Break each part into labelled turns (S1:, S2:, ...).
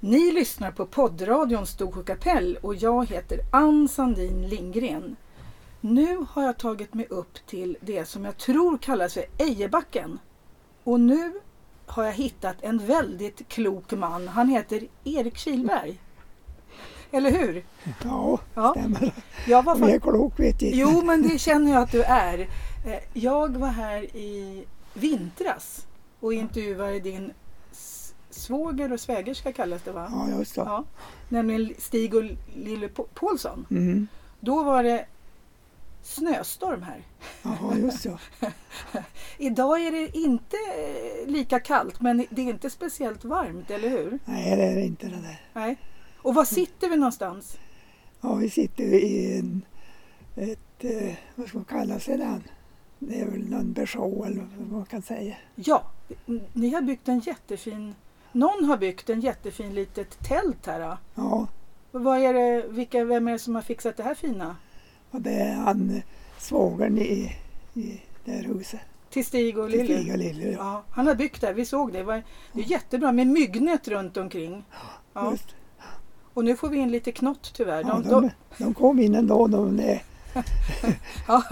S1: Ni lyssnar på poddradion Storsjö kapell och jag heter Ann Sandin Lindgren. Nu har jag tagit mig upp till det som jag tror kallas för Ejebacken. Och nu har jag hittat en väldigt klok man. Han heter Erik Kilberg. Eller hur?
S2: Ja,
S1: Ja.
S2: stämmer.
S1: Jag var
S2: Om jag är
S1: fak-
S2: klok vet jag inte.
S1: jo, men det känner jag att du är. Eh, Jag var här i vintras och intervjuade din s- svåger och svägerska kallas det va?
S2: Ja, just det.
S1: Ja, nämligen Stig och Lille P- Paulsson.
S2: Mm.
S1: Då var det snöstorm här.
S2: Jaha, just det.
S1: Idag är det inte eh, lika kallt men det är inte speciellt varmt, eller hur?
S2: Nej, det är inte det där.
S1: Nej. Och var sitter vi någonstans?
S2: Ja, vi sitter ju i en, ett, eh, vad ska man kalla sig den? Det är väl någon berså eller vad man kan säga.
S1: Ja, ni har byggt en jättefin... Någon har byggt en jättefin litet tält här. Då.
S2: Ja,
S1: Vad är det, vilka, vem är det som har fixat det här fina?
S2: och det är han eh, svågern i, i det här huset.
S1: Till Stig och
S2: Till
S1: Lille?
S2: Stig och Lille, ja.
S1: Ja, han har byggt det, här, vi såg det. Det, var, det är jättebra med myggnät runt omkring. Ja.
S2: Just.
S1: Och nu får vi in lite knott tyvärr.
S2: Ja,
S1: De,
S2: de,
S1: de,
S2: de kom in ändå. De, det,
S1: ja,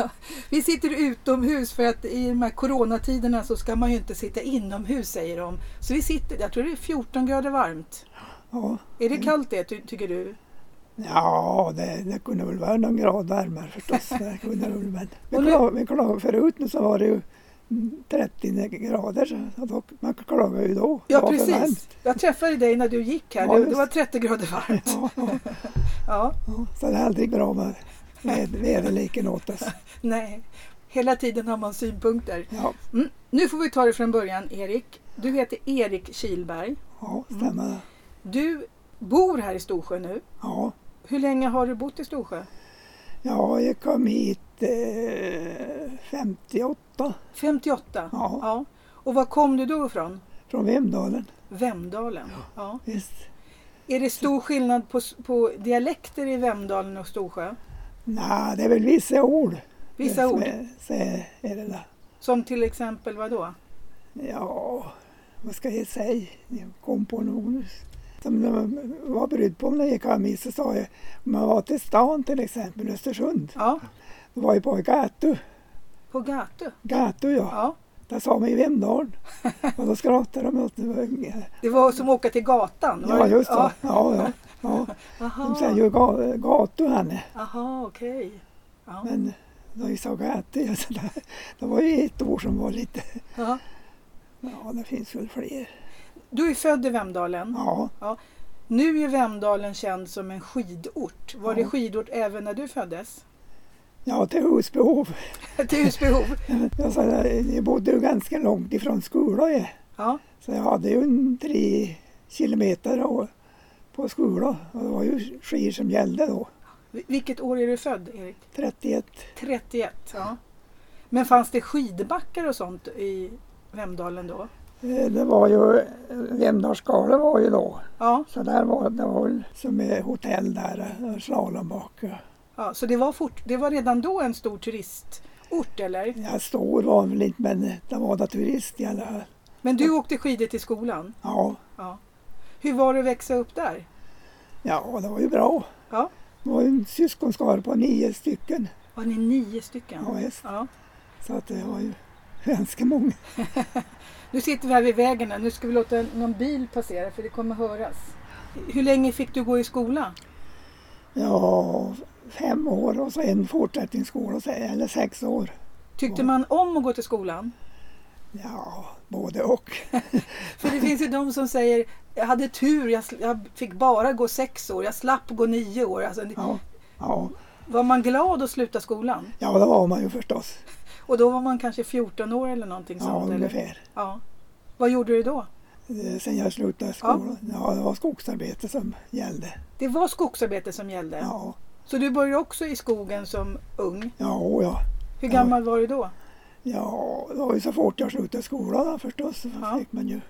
S1: vi sitter utomhus för att i de här coronatiderna så ska man ju inte sitta inomhus säger de. Så vi sitter, jag tror det är 14 grader varmt.
S2: ja,
S1: Är det kallt det ty, tycker du?
S2: ja det, det kunde väl vara någon grad varmare förstås. Det kunde det väl, men vi
S1: Och nu-
S2: klag- vi klagade förut nu så var det ju mm, 30 grader. Så då, man klagade ju då. Det
S1: Ja
S2: var för
S1: precis.
S2: varmt.
S1: Jag träffade dig när du gick här.
S2: Ja,
S1: Det, det
S2: just.
S1: var 30 grader varmt.
S2: Ja, ja,
S1: Ja,
S2: ja, så det är aldrig bra med med väderleken åt oss.
S1: nej. Hela tiden har man synpunkter.
S2: Ja,
S1: Mm. Nu får vi ta det från början Erik. Du heter Erik Kilberg.
S2: ja stämmer det.
S1: Du bor här i Storsjö nu.
S2: Ja,
S1: Hur länge har du bott i Storsjö?
S2: ja, jag kom hit eh, 58
S1: 58?
S2: Ja.
S1: Och var kom du då ifrån?
S2: från Vemdalen.
S1: Vemdalen? Ja.
S2: Visst.
S1: Är det stor skillnad på, s- på dialekter i Vemdalen och Storsjö?
S2: Nej, det är väl vissa ord.
S1: Vissa
S2: som
S1: ord,
S2: Är, så är, är det där.
S1: som till exempel vad då?
S2: Ja, vad ska jag säga? Jag kom på något som de var brydd på när jag gick hem hit så sa jag, om man var till stan till exempel, Östersund,
S1: Ja,
S2: då var jag på gatu,
S1: på gatu.
S2: gatu ja,
S1: Ja.
S2: där sa man ju Vemdalen. Och då skrattade de åt mig.
S1: Det var som att åka till gatan? var
S2: Ja,
S1: det?
S2: just det. Ja, ja. ja. De säger
S1: Aha,
S2: ju ga- gatu han är.
S1: Aha okej. Ja.
S2: men de sa gatu. ja, så där. Det var ju ett ord som var lite,
S1: Ja.
S2: ja det finns väl fler.
S1: Du är född i Vemdalen.
S2: Ja,
S1: Nu är Vemdalen känd som en skidort. Var det
S2: Ja.
S1: skidort även när du föddes?
S2: ja till husbehov.
S1: till husbehov?
S2: Jag, sa, jag bodde ju ganska långt ifrån skolan. Jag.
S1: Ja.
S2: Så jag hade ju en tre kilometer och- på skolan. Och det var ju skidor som gällde då.
S1: Vil- Vilket år är du född, Erik?
S2: 31.
S1: 31, ja. Men fanns det skidbackar och sånt i Vemdalen då?
S2: Eh, Det var ju, Vemdalsskala var ju då.
S1: Ja,
S2: Så där var det var väl som ett hotell där, eh, och slalombacke.
S1: ja så det var, fort, det var redan då en stor turistort eller?
S2: Ja, stor var väl inte men det var da turist i alla fall.
S1: Men du åkte skidor till skolan?
S2: Ja,
S1: Ja. Hur var det att växa upp där?
S2: ja det var ju bra.
S1: Ja.
S2: Det var ju en syskonskara på nio stycken.
S1: Var ni nio stycken?
S2: Ja, visst.
S1: Ja.
S2: Så att det var ju ganska många.
S1: Nu sitter vi här vid vägen. här. Nu ska vi låta en- någon bil passera för det kommer höras. Hur länge fick du gå i skola?
S2: Ja, fem år och så en fortsättningsskola, så- eller sex år.
S1: Tyckte
S2: Ja.
S1: man om att gå till skolan?
S2: Ja, både och.
S1: För det finns ju de som säger jag hade tur, jag, sl- jag fick bara gå sex år, jag slapp gå nio år. Alltså, det-
S2: Ja, ja.
S1: Var man glad att sluta skolan?
S2: ja det var man ju förstås.
S1: Och då var man kanske 14 år eller någonting
S2: Ja,
S1: sånt? Eller?
S2: ungefär.
S1: Ja. Vad gjorde du då?
S2: Eh, Sen jag slutade skolan. Ja, det var skogsarbete som gällde.
S1: Det var skogsarbete som gällde.
S2: Ja,
S1: Så du började också i skogen som ung.
S2: ja, och ja.
S1: Hur
S2: Ja.
S1: gammal var du då?
S2: Ja, det var ju så fort jag slutade skolan då, förstås. Så
S1: Ja.
S2: fick man ju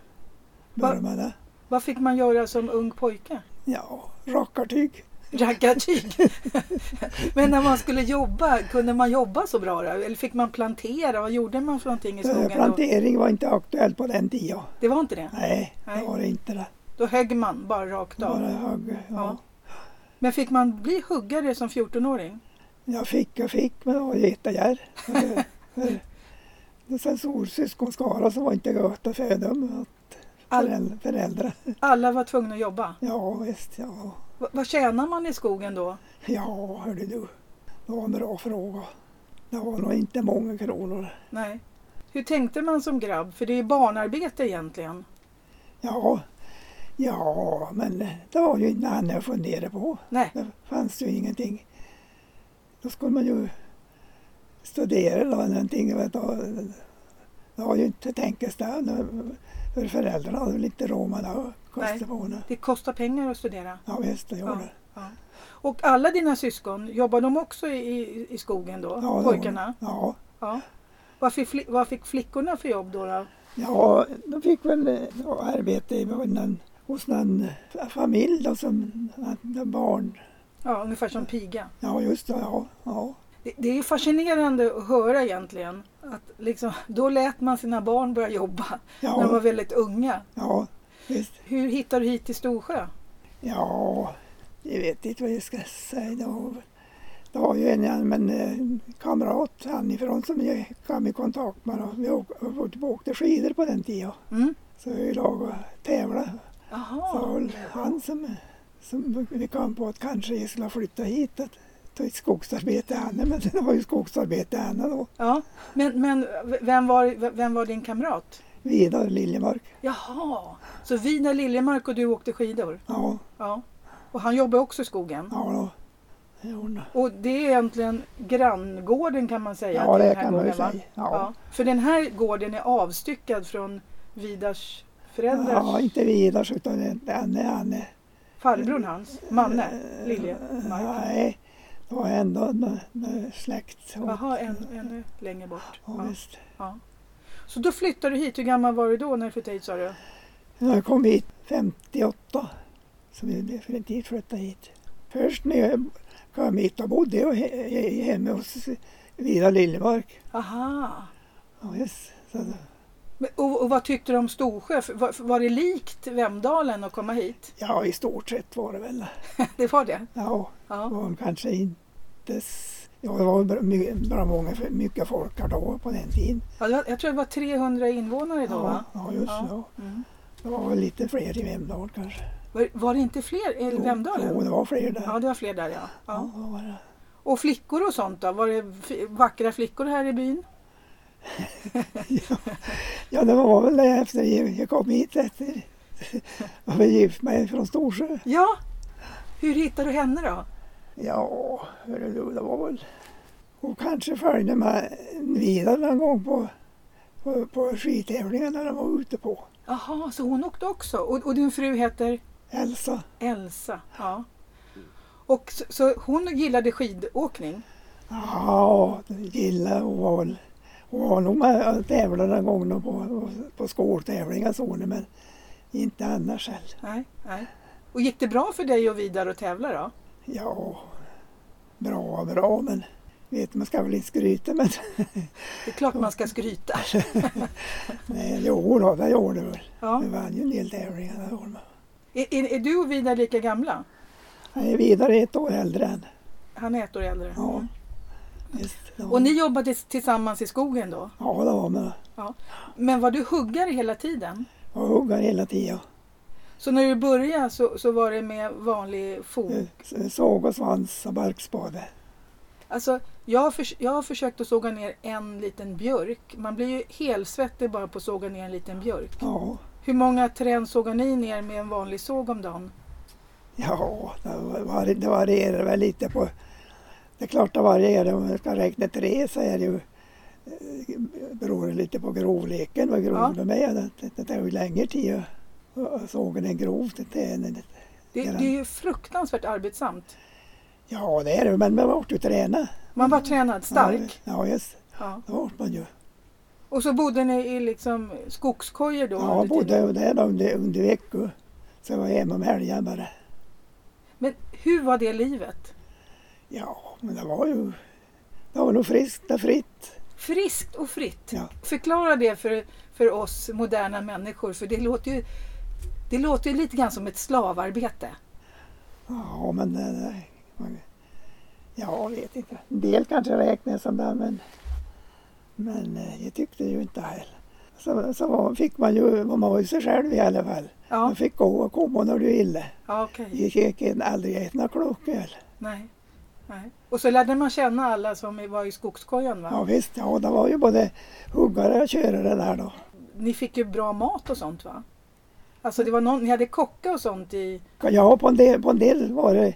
S2: börja med det.
S1: Vad fick man göra som ung pojke?
S2: Ja, rackartyg.
S1: Raggartyg! Men när man skulle jobba, kunde man jobba så bra? Då? Eller fick man plantera? Vad gjorde man för någonting i
S2: Eh,
S1: skogen? Då?
S2: Plantering var inte aktuellt på den tiden.
S1: Det var inte det?
S2: Nej,
S1: Nej.
S2: det var det inte. Det.
S1: Då högg man bara rakt av.
S2: Bara högg. Ja.
S1: Ja. Men fick man bli huggare som 14-åring?
S2: Jag fick och fick, men jag var jättegär. Sen solsyskonskara så var inte gott att föda med
S1: All,
S2: föräldrar. föräldrar.
S1: alla var tvungna att jobba.
S2: Ja, visst. Ja,
S1: V- vad tjänar man i skogen då?
S2: ja hörde du. Det var en bra fråga. Det var nog inte många kronor.
S1: Nej. Hur tänkte man som grabb? För det är barnarbete egentligen.
S2: Ja, ja, men det var ju inte annat jag funderade på.
S1: Nej,
S2: Det fanns ju ingenting. Då skulle man ju studera eller någonting. Vet du. Det var ju inte tänkes där. nu. För föräldrarna hade väl inte råd med det. och
S1: Nej.
S2: kostade på henne.
S1: det kostar pengar att studera.
S2: Ja visst, det gjorde det.
S1: Och alla dina syskon, jobbar de också i, i, i skogen då?
S2: Ja, det gjorde
S1: Pojkarna?
S2: det. Ja.
S1: Ja. Vad fick, fli- vad fick flickorna för jobb då? då?
S2: ja, de fick väl eh, ja, arbete i någon, hos någon familj då, som hade barn.
S1: Ja, ungefär som piga.
S2: Ja, just det. Ja, ja.
S1: Det, det är fascinerande att höra egentligen. Att liksom, då lät man sina barn börja jobba när de var
S2: ja,
S1: väldigt unga.
S2: ja visst.
S1: Hur hittar du hit till Storsjö?
S2: Ja, jag vet inte vad jag ska säga. Det var, det var ju en, en, en kamrat hemifrån som jag kom i kontakt med. då. Vi åkte, vi åkte skidor på den tiden.
S1: Mm.
S2: Så vi lag och tävlade. Så
S1: Jaha.
S2: var det han som, som vi kom på att kanske jag skulle flytta hit. Att, ta ett skogsarbete henne, men det var ju skogsarbete henne då.
S1: Ja. Men, men v- vem, var, vem var din kamrat?
S2: Vidar Liljemark.
S1: Jaha. Så Vidar Liljemark och du åkte skidor?
S2: Ja,
S1: Ja. Och han jobbar också i skogen?
S2: ja då. Det gjorde han.
S1: Och det är egentligen granngården kan man säga?
S2: Ja,
S1: till
S2: det
S1: den här
S2: kan man ju
S1: gården, va?
S2: säga.
S1: Ja.
S2: Ja.
S1: För den här gården är avstyckad från Vidars föräldrars
S2: Ja, inte Vidars utan en- en Anne.
S1: farbror hans, Manne,
S2: Eh,
S1: Liljemark.
S2: Nej, det var ändå en, en släkt. Och,
S1: Jaha, än- ännu längre bort.
S2: och
S1: Ja.
S2: visst.
S1: Så då flyttade du hit. Hur gammal var du då när du flyttade hit sa du?
S2: Jag kom hit 58, så vi definitivt flyttade hit. Först när jag kom hit då bodde jag he- he- hemma hos Vidar Liljemark.
S1: Aha.
S2: Ja, visst. Så, det-
S1: Men- Och, och vad tyckte du om Storsjö? För- Var, var det likt Vemdalen att komma hit?
S2: ja, i stort sett var det väl.
S1: Det var det?
S2: Ja, det
S1: Ja.
S2: var väl kanske inte... s- Ja, det var bra, my- bra många, mycket folk här då på den tiden.
S1: ja det var, jag tror det var 300 invånare då
S2: Ja,
S1: va?
S2: ja just
S1: Ja.
S2: det. Ja.
S1: Mm.
S2: Det var väl lite fler i Vemdal kanske.
S1: Var, var det inte fler i Vemdalen?
S2: Jo, det var fler där.
S1: Ja, det var fler där ja. ja.
S2: Ja, vad var det?
S1: Och flickor och sånt då? Var det f- vackra flickor här i byn?
S2: Ja, det var väl det efter jag kom hit efter jag var gift mig från Storsjö.
S1: Ja! Hur hittade du henne då?
S2: Ja, hörru du, det var väl... Och kanske följde med vidare någon gång på, på, på skidtävlingarna de var ute på.
S1: Jaha, så hon åkte också? Och, och din fru heter
S2: Elsa,
S1: Elsa? Ja. Och så, så hon gillade skidåkning?
S2: ja, det gillade hon var väl... Hon var nog med och tävlade någon gång då på, på skoltävlingar så hon, men inte annars heller.
S1: Nej, nej. Och gick det bra för dig och Vidar att tävla då?
S2: Ja, bra, bra, men vet man ska väl inte skryta men
S1: Det är klart man ska skryta.
S2: Nej, jo då, det gjorde det väl.
S1: Ja.
S2: Vi vann ju en del tävlingar det gjorde man.
S1: Är, är, är du och Vidar lika gamla?
S2: Han är vidare ett år äldre än.
S1: Han är ett år äldre.
S2: Ja.
S1: Mm.
S2: Visst, det var-
S1: Och ni jobbade tillsammans i skogen då?
S2: Ja, det var man.
S1: Men var du huggare hela tiden?
S2: Och huggar hela tiden.
S1: Så när du började så, så var det med vanlig
S2: Mm.
S1: fot?
S2: Såg och svans och barkspade.
S1: Alltså, jag, har förs- jag har försökt att såga ner en liten björk. Man blir ju helsvettig bara på att såga ner en liten björk.
S2: Ja,
S1: Hur många trän sågar ni ner med en vanlig såg om dagen?
S2: ja det, var, det varierar väl lite på... Det är klart det varierar. Om man ska räkna tre så är det ju... eh, beror det lite på grovleken, vad grov
S1: Ja.
S2: de är. Det, det tar ju längre tid att- att såga en grov till en
S1: Det,
S2: Ja.
S1: det är ju fruktansvärt arbetsamt.
S2: Ja, det är det, men man vart ju träna.
S1: Man var tränad stark.
S2: Ja, just
S1: Ja.
S2: det vart man ju.
S1: Och så bodde ni i liksom skogskojor då?
S2: Ja,
S1: under
S2: bodde
S1: tiden.
S2: jag där då under, under veckor. Så jag var hemma om helgen bara.
S1: Men hur var det livet?
S2: Ja, men det var ju... Det var nog friskt och fritt.
S1: Friskt och fritt.
S2: Ja.
S1: Förklara det för, för oss moderna människor, för det låter ju Det låter ju lite grann som ett slavarbete.
S2: Ja, men... eh, man- Ja, jag vet inte. En del kanske räknas som det, men... Men eh, jag tyckte ju inte heller. Så, så var- fick man ju... Man var ju sig själv i alla fall.
S1: Ja,
S2: Man fick gå och komma när du ville.
S1: ja okej.
S2: Jag gick in aldrig i ett något klocköl.
S1: Nej. Nej. Och så lärde man känna alla som var i skogskojan va?
S2: Ja, visst, ja, det var ju både huggare och körare där då.
S1: Ni fick ju bra mat och sånt va? Alltså det var någon, ni hade kockar och sånt i...
S2: Ja, på en del, på en del var det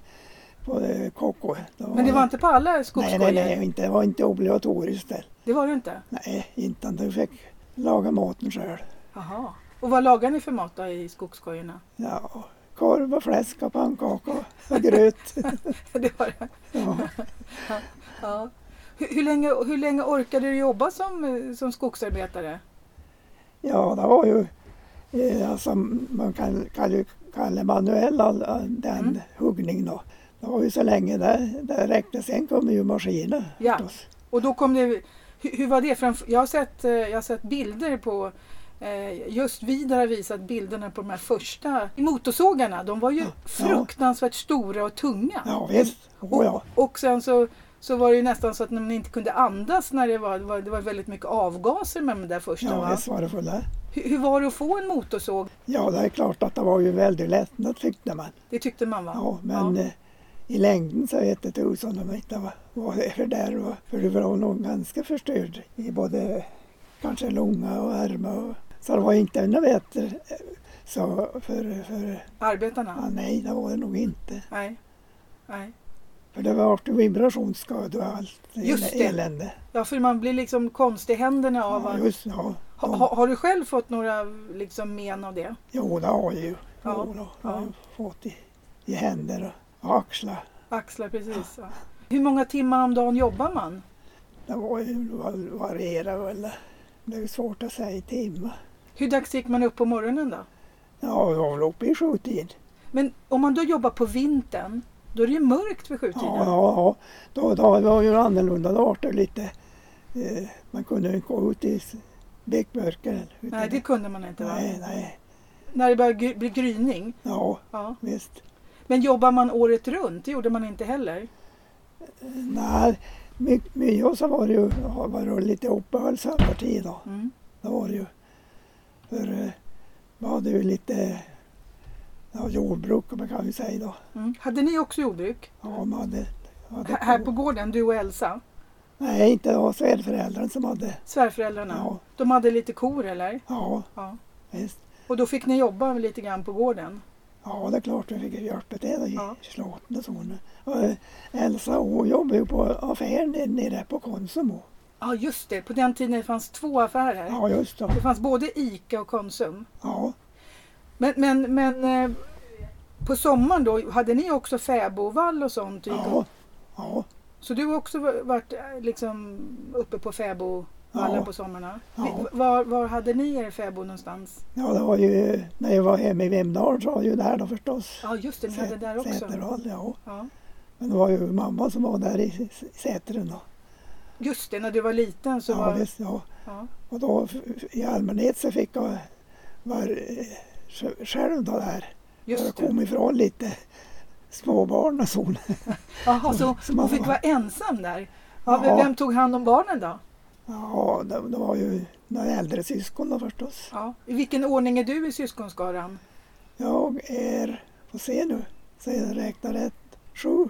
S2: både kock och...
S1: Men det var inte på alla
S2: Nej,
S1: skogskojor?
S2: nej, nej, inte, det var inte obligatoriskt det.
S1: Det var det inte?
S2: Nej, inte om du fick laga maten själv.
S1: Jaha. Och vad lagar ni för mat då i skogskojorna?
S2: Ja, korv och fläsk och pannkaka och gröt.
S1: det var det.
S2: Ja.
S1: Ja. Hur, hur, länge, hur länge orkade du jobba som, eh, som skogsarbetare?
S2: ja, det var ju, eh, alltså, man kan, kan ju kalla manuell all- all den
S1: Mm.
S2: huggning då. Det var ju så länge det, det räckte. Sen kom ju maskiner
S1: Ja.
S2: förstås.
S1: Och då kom det... Hur, hur var det? Framf- jag, har sett, eh, jag har sett bilder på... eh, Just Vidar har visat bilderna på de här första motorsågarna. De var ju fruktansvärt stora och tunga.
S2: Ja, visst. Oh, ja.
S1: Och sen så, så var det ju nästan så att man inte kunde andas när det var, det var, det var väldigt mycket avgaser med de där första.
S2: ja,
S1: va?
S2: visst var det fulla.
S1: Hur, hur var det att få en motorsåg?
S2: Ja, det är klart att det var ju väldigt lättnad tyckte man.
S1: Det tyckte man va?
S2: Ja, men eh, i längden så vet jag tusan om inte vad- vad det är för där. va. För det var nog ganska förstörd i både kanske lunga och armar. Och, så det var inte något bättre. eh, Så för, för
S1: Arbetarna?
S2: ja, nej, det var det nog inte.
S1: Nej. Nej.
S2: För det var ju vibrationsskador och allt
S1: Just
S2: el-
S1: det.
S2: elände.
S1: Ja, för man blir liksom konstig i händerna av
S2: Ja,
S1: att...
S2: just ja.
S1: Ha, ha, har du själv fått några liksom, men av det?
S2: Jo, det har jag ju.
S1: Ja,
S2: Jo, då,
S1: ja.
S2: jag har ju fått i, i händer och axlar.
S1: Axlar, precis. Ja. Hur många timmar om dagen jobbar man?
S2: Det var ju var- varierar väl. Det är ju svårt att säga i timmar.
S1: Hur dags gick man upp på morgonen då?
S2: Ja, det var väl uppe i sjutid.
S1: Men om man då jobbar på vintern, då är det ju mörkt vid sjutiden.
S2: Ja, ja, ja. Då, då var ju annorlunda. Då var det lite... Eh, man kunde ju inte gå ut i s- bäckmörker. utan-
S1: Nej, det kunde man inte. Va?
S2: nej, nej.
S1: När det började gry- bli gryning.
S2: Ja,
S1: Ja.
S2: visst.
S1: Men jobbar man året runt? Det gjorde man inte heller.
S2: Nej, my- mycket så var det ju ja, var det lite uppehåll sommartid då.
S1: Mm.
S2: Det var det ju. För eh, man hade ju lite ja, jordbruk, man kan ju säga då.
S1: Mm. Hade ni också jordbruk?
S2: Ja, man hade, hade
S1: H- här på gården, du och Elsa?
S2: Nej, inte det var svärföräldrarna som hade.
S1: Svärföräldrarna?
S2: Ja,
S1: De hade lite kor eller?
S2: ja,
S1: Ja.
S2: visst.
S1: Och då fick ni jobba lite grann på gården?
S2: Ja, det är klart vi fick hjälpa till då i
S1: Ja.
S2: slåten och så. Och eh, Elsa hon jobbade ju på affären nere- nere på Konsum. hon.
S1: Ja just det, på den tiden det fanns två affärer.
S2: Ja, just det.
S1: Det fanns både ICA och Konsum.
S2: Ja,
S1: Men, men, men eh, på sommaren då, hade ni också fäbodvall och sånt? typ?
S2: ja, ja,
S1: Så du har också va- varit eh, liksom, uppe på fäbodvallar
S2: Ja.
S1: på sommarna?
S2: Ja.
S1: Vi- Var, var hade ni er fäbod någonstans?
S2: ja. Det var ju när jag var hemma i Vemdal så var det ju där då förstås.
S1: Ja just det, ni hade där också.
S2: Säterdal, ja.
S1: Ja.
S2: Men det var ju mamma som var där i S- Säteren då.
S1: Just det, när du var liten så
S2: ja,
S1: var...
S2: visst, ja.
S1: Ja.
S2: Och då f- f- i allmänhet så fick jag vara eh, sj- själv då där. jag
S1: Just det.
S2: kom ifrån lite småbarn och så.
S1: Jaha, så
S2: som
S1: hon fick
S2: var-
S1: vara ensam där? Ja,
S2: Ja.
S1: Vem tog hand om barnen då?
S2: Ja, det, det var ju några äldre syskon då förstås.
S1: Ja. I vilken ordning är du i syskonskaran?
S2: Jag är, får se nu, så jag räknar rätt, sju.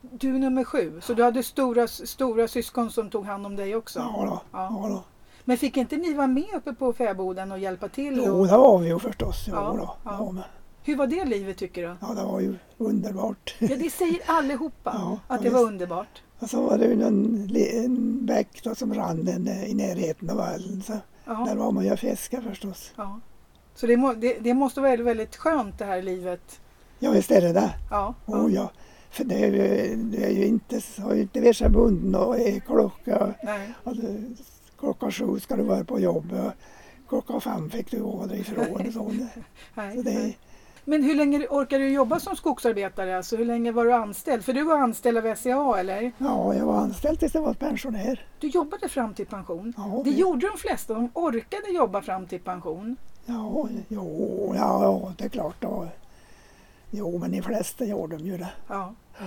S1: Du är nummer sju, så du hade stora, stora syskon som tog hand om dig också.
S2: Ja då,
S1: Ja.
S2: ja då.
S1: Men fick inte ni vara med uppe på fäboden och hjälpa till?
S2: Jo,
S1: Och...
S2: det var vi ju förstås. Jo,
S1: Ja,
S2: då.
S1: ja.
S2: Ja, men,
S1: Hur var det livet tycker du?
S2: ja, det var ju underbart.
S1: Ja, det säger allihopa
S2: Ja,
S1: att det
S2: ja,
S1: var
S2: visst.
S1: underbart.
S2: Och så var det ju en, en bäck då som rann en, eh, i närheten av vallen. Så
S1: Ja,
S2: Där var man ju och fiskade förstås.
S1: ja. Så det, må, det, det måste vara väldigt, väldigt skönt det här livet.
S2: Ja, visst är det det.
S1: Ja, ja.
S2: Oh, ja. För det är ju, det är ju inte, har ju inte varit så bunden och är klocka,
S1: Nej.
S2: och du- klockan sju ska du vara på jobbet. och Klockan fem fick du gå därifrån. och så.
S1: Nej,
S2: Så det,
S1: nej. Men hur länge orkade du jobba som skogsarbetare? Alltså, hur länge var du anställd? För du var anställd av SCA eller?
S2: ja, jag var anställd tills jag var pensionär.
S1: Du jobbade fram till pension.
S2: Ja,
S1: Det
S2: visst.
S1: gjorde de flesta, de orkade jobba fram till pension.
S2: Ja, jo, ja, ja, det är klart. Då. Jo, men de flesta gör de ju det.
S1: Ja.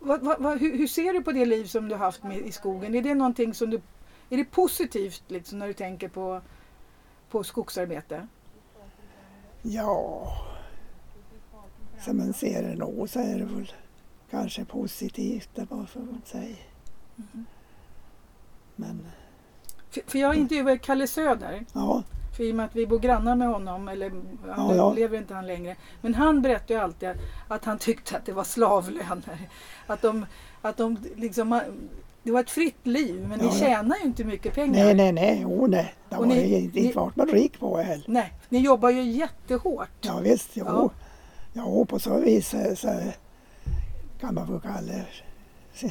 S1: Vad- vad- vad- hur, hur ser du på det liv som du har haft med, i skogen? Är det någonting som du... Är det positivt liksom, när du tänker på, på skogsarbete?
S2: Ja, som man ser det nu så är det väl kanske positivt, det man får väl säga. Men
S1: För, för jag intervjuade Kalle Söder,
S2: ja,
S1: för i och med att vi bor grannar med honom, eller han
S2: Ja, ja.
S1: lever inte han längre. Men han berättade ju alltid att han tyckte att det var slavlöner. Att de, att de liksom... man- Det var ett fritt liv, men
S2: Ja,
S1: ni
S2: ja.
S1: tjänar ju inte mycket pengar.
S2: nej, nej, nej, jo, nej. Det
S1: Och
S2: var
S1: ni-
S2: det inte,
S1: ni-
S2: inte vart man rik på heller.
S1: Nej, ni jobbar ju jättehårt.
S2: Ja, visst, jo.
S1: Ja.
S2: Ja. på så vis eh, så kan man väl kalla det sig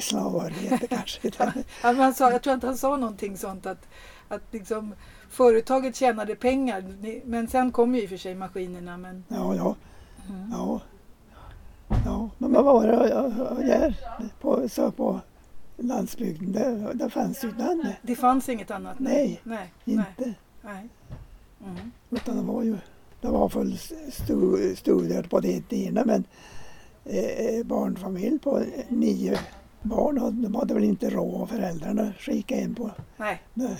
S2: slavarbete kanske.
S1: Ja, men Han sa, jag tror inte han sa någonting sånt att, att liksom, företaget tjänade pengar. Ni- Men sen kom ju i och för sig maskinerna. Men,
S2: Ja, ja.
S1: Mm.
S2: Ja. ja. Men vad var det jag- jag gör på, så på landsbygden? Där, där fanns ju inte annat.
S1: det fanns inget annat?
S2: Nej,
S1: Nej. nej,
S2: Inte.
S1: nej. Mm.
S2: Utan det var ju det var full stu- studier på den tiden men eh, barnfamilj på nio barn hade- de hade väl inte råd av föräldrarna att skicka in på
S1: nej.
S2: när,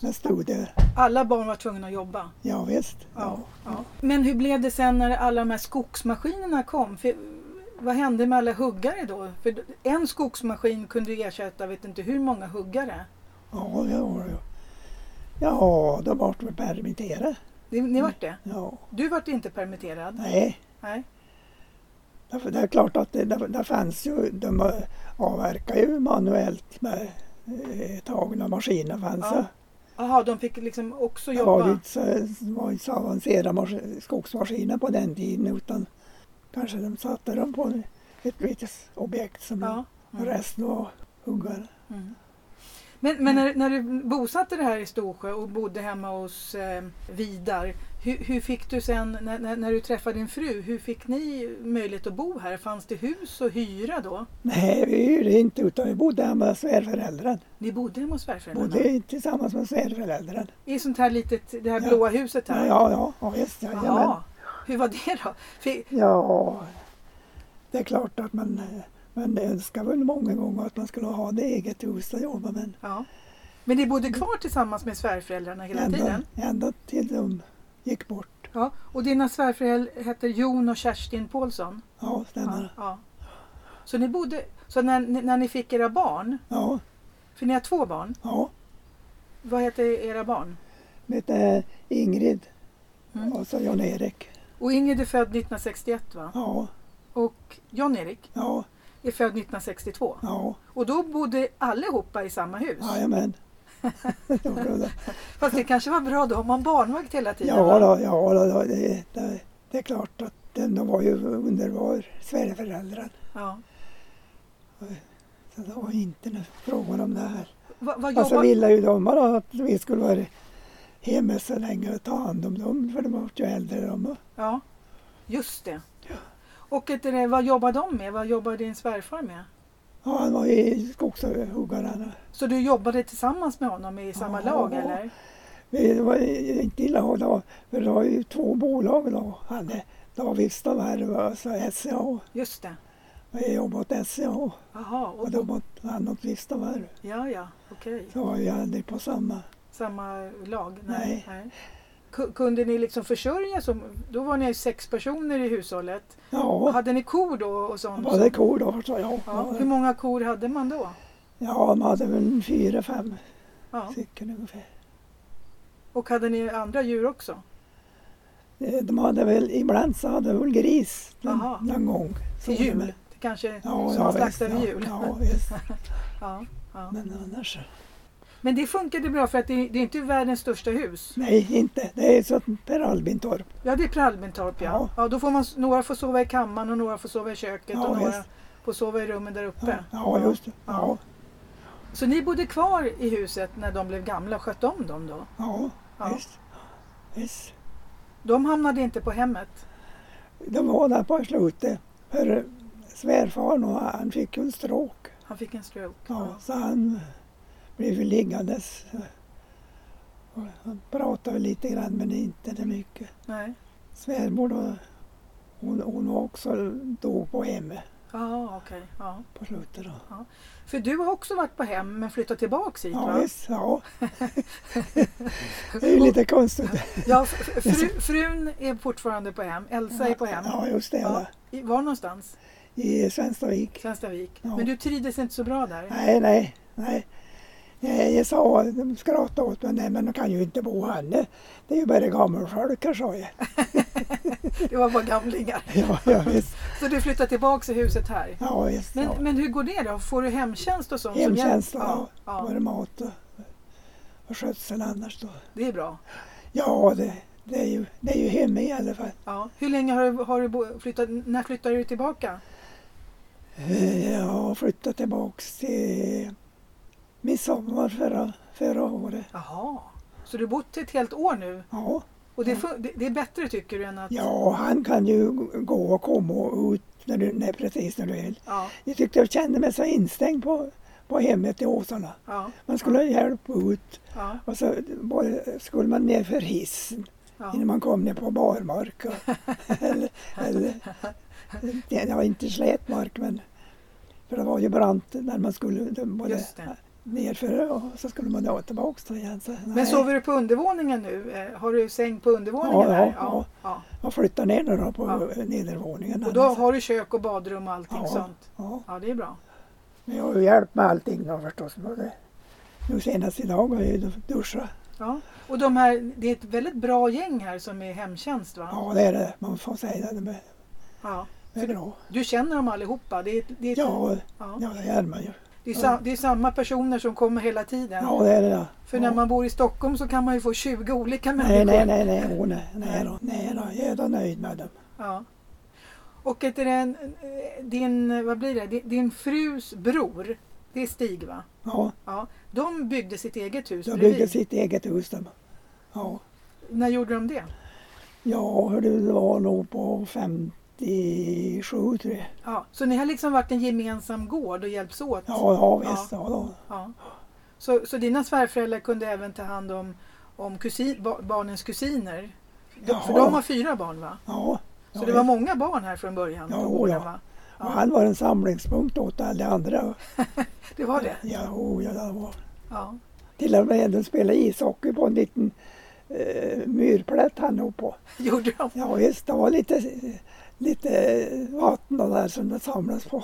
S2: när studier.
S1: Alla barn var tvungna att jobba.
S2: Ja visst.
S1: Ja, ja. Men hur blev det sen när alla de här skogsmaskinerna kom? För, vad hände med alla huggare då? För en skogsmaskin kunde ju ersätta vet inte hur många huggare.
S2: Ja, ja, ja. Ja, de vart väl permitterade.
S1: Ni, ni vart det?
S2: Ja,
S1: Du vart inte permitterad?
S2: nej.
S1: Nej.
S2: Därför det är klart att det, det, det fanns ju, de avverkar ju manuellt med eh, tagna maskiner. Fanns
S1: Ja,
S2: det.
S1: Jaha, de fick liksom också
S2: det
S1: jobba?
S2: var ju inte så, det var ju inte så avancerade mas- skogsmaskiner på den tiden utan kanske de satte dem på ett litet objekt som
S1: Ja. Mm.
S2: resten var huggare.
S1: Mm. Men, men när, när du bosatte dig här i Storsjö och bodde hemma hos eh, Vidar, hur, hur fick du sen när, när, när du träffade din fru, hur fick ni möjlighet att bo här? Fanns det hus och hyra då?
S2: Nej, vi hyrde inte utan vi bodde hemma hos svärföräldrarna.
S1: Ni bodde hemma hos svärföräldrarna?
S2: Bodde tillsammans med svärföräldrarna.
S1: I sånt här litet, det här
S2: Ja.
S1: blåa huset
S2: Ja,
S1: här?
S2: ja, ja, ja visst. Ja,
S1: Jaha.
S2: jajamän.
S1: Hur var det då? Fick,
S2: Ja, det är klart att man, eh, man önskar väl många gånger att man skulle ha det eget hus att jobba men
S1: ja. Men ni bodde kvar tillsammans med svärföräldrarna hela
S2: ända,
S1: tiden?
S2: ända till de gick bort.
S1: Ja. Och dina svärföräldrar hette Jon och Kerstin Paulsson?
S2: Ja,
S1: Ja,
S2: stämmer.
S1: ja. Så ni bodde, så när, när ni fick era barn,
S2: Ja,
S1: för ni har två barn,
S2: ja.
S1: vad heter era barn?
S2: Vet du, Ingrid
S1: Mm.
S2: och så Jan-Erik.
S1: Och Ingrid är född 1961 va?
S2: Ja,
S1: Och Jan-Erik
S2: ja,
S1: är född 1962.
S2: ja,
S1: Och då bodde allihopa i samma hus.
S2: jajamän. ja,
S1: Fast det kanske var bra då, har man barnvakt hela tiden?
S2: ja,
S1: va?
S2: då, ja då, då, det, det, det är klart att de, de var ju underbar svärföräldrar.
S1: Ja.
S2: Så det var inte några frågor om det här.
S1: Va, vad
S2: Och så
S1: jobbar...
S2: ville ju de bara att vi skulle vara hemma så länge och ta hand om dem för de var ju äldre de.
S1: Ja, just det. Och ett, eh, vad jobbar de med? Vad jobbar din svärfar med?
S2: Ja, han var ju skogshuggare.
S1: Så du jobbade tillsammans med honom i samma
S2: Ja.
S1: lag eller?
S2: Det var inte illa att ha för det var ju två bolag då. Han var Vista Värv och så SCA. Och
S1: Just det.
S2: jag jobbade åt SCA
S1: Jaha,
S2: och
S1: och,
S2: då åt han åt Vista Värv.
S1: ja ja, okej.
S2: Så var vi aldrig på samma.
S1: samma lag?
S2: Nej.
S1: Ku- Kunde ni liksom försörja som, Då var ni sex personer i hushållet.
S2: Ja,
S1: Hade ni kor då och sånt?
S2: var det kor då förstår jag.
S1: ja. Hur många kor hade man då?
S2: Ja, man hade väl fyra, fem
S1: Ja.
S2: stycken ungefär.
S1: Och hade ni andra djur också?
S2: Eh, De hade väl, ibland så hade de väl gris
S1: Jaha.
S2: någon, någon gång. Så
S1: Till
S2: var det
S1: jul?
S2: väl-
S1: Det kanske
S2: Ja,
S1: som man
S2: ja,
S1: slaktar vid
S2: visst,
S1: jul?
S2: Ja, ja, visst.
S1: Ja, ja.
S2: Men annars så-
S1: Men det funkade bra för att det, det är inte världens största hus.
S2: Nej, inte. Det är så att Per Albintorp.
S1: Ja, det är Pralmentorp ja. ja.
S2: Ja.
S1: då får man, s- några får sova i kammaren och några får sova i köket
S2: Ja,
S1: och några
S2: visst.
S1: får sova i rummen där uppe.
S2: Ja, ja just det. Ja,
S1: Så ni bodde kvar i huset när de blev gamla och skötte om dem då?
S2: ja,
S1: Ja.
S2: visst. visst.
S1: De hamnade inte på hemmet.
S2: De var där på slutet. För svärfar och han fick ju en stråk.
S1: Han fick en stroke.
S2: Ja, så han blev ju liggandes. Och han pratade väl lite grann men inte det mycket.
S1: Nej.
S2: Svärmor då, hon, hon var också dog på hemmet
S1: Ja, Ah, okej. Ja.
S2: på slutet. Då.
S1: För du har också varit på hem men flyttat tillbaks hit
S2: Ja,
S1: va?
S2: visst, ja. Det är ju lite konstigt.
S1: Ja, f- f- fru, frun är fortfarande på hem, Elsa är på hem.
S2: Ja, just det.
S1: Ja.
S2: Ja.
S1: I- Var någonstans?
S2: I Svenstavik.
S1: Svenstavik.
S2: Ja.
S1: Men du trivdes inte så bra där?
S2: Nej, nej, nej. Jag, jag sa, de skrattade åt mig, nej men de kan ju inte bo här nu. Det är ju bara gammelfolk, sa jag.
S1: Det var bara gamlingar.
S2: Ja, ja visst.
S1: Så du flyttade tillbaks i huset här?
S2: Ja, visst.
S1: Men,
S2: ja.
S1: men hur går det då? Får du hemtjänst och sånt? som
S2: Hemtjänst,
S1: hjälp?
S2: ja.
S1: ja.
S2: Både mat och, och skötsel annars då.
S1: Det är bra.
S2: Ja, det, det, är ju, det är ju hemma i alla fall.
S1: Ja. Hur länge har du, har du bo- flyttat? När flyttade du tillbaka?
S2: Eh, Jag har flyttat tillbaks till midsommar förra, förra året.
S1: Jaha. Så du har bott ett helt år nu?
S2: Ja.
S1: Och det, fun- det, det är bättre tycker du än att...
S2: ja, han kan ju gå och komma och ut när du, när, precis när du vill.
S1: Ja.
S2: Jag tyckte jag kände mig så instängd på, på hemmet i Åsarna.
S1: Ja.
S2: Man skulle ha hjälp ut
S1: Ja.
S2: och så både, skulle man ner för hissen
S1: ja.
S2: innan man kom ner på barmark. Och, eller, eller, det var inte slät mark men för det var ju brant när man skulle det- både
S1: Just det.
S2: nerför och så skulle man då tillbaks då igen. Så, nej,
S1: Men sover du på undervåningen nu? Eh, Har du säng på undervåningen?
S2: Ja, ja,
S1: där?
S2: ja.
S1: ja.
S2: Jag flyttade ner nu då på
S1: Ja.
S2: nedervåningen.
S1: Och då har du kök och badrum och allting
S2: Ja.
S1: sånt?
S2: ja,
S1: Ja, det är bra.
S2: men jag har ju hjälpt med allting då förstås. Både, nu senast idag har jag ju duschat.
S1: Ja. Och de här, det är ett väldigt bra gäng här som är hemtjänst va?
S2: Ja, det är det. Man får säga det. Det är-
S1: Ja.
S2: det är bra.
S1: Du känner dem allihopa? Det är, det är,
S2: Ja,
S1: ja.
S2: ja det är man ju.
S1: Det, är sa, det är samma personer som kommer hela tiden?
S2: Ja, det är det. ja.
S1: För
S2: ja.
S1: när man bor i Stockholm så kan man ju få 20 olika
S2: Nej,
S1: människor.
S2: nej, nej, nej, åh, nej, nej, då, nej då, jag är då nöjd med dem.
S1: Ja. Och heter den, eh, din, vad blir det? Din, din frus bror, det är Stig va?
S2: Ja,
S1: Ja. De byggde sitt eget hus
S2: de
S1: bredvid.
S2: byggde sitt eget hus de. Ja,
S1: När gjorde de det?
S2: ja hör du, det var nog på 57 tror jag.
S1: Ja. Så ni har liksom varit en gemensam gård och hjälps åt?
S2: Ja, ja visst, ja, då.
S1: Ja. Så, så dina svärföräldrar kunde även ta hand om, om kusin, ba, barnens kusiner? De, för
S2: Ja.
S1: de har fyra barn va?
S2: ja.
S1: Så
S2: ja,
S1: det var många barn här från början?
S2: Ja,
S1: på gården,
S2: ja.
S1: va?
S2: och Han var en samlingspunkt åt alla andra.
S1: Det var det?
S2: Ja, oh, ja, det var.
S1: Ja.
S2: Till och med de spelade ishockey på en liten eh, myrplätt han låg på.
S1: Gjorde de?
S2: Ja visst, det var lite, lite vatten och där som det samlades på.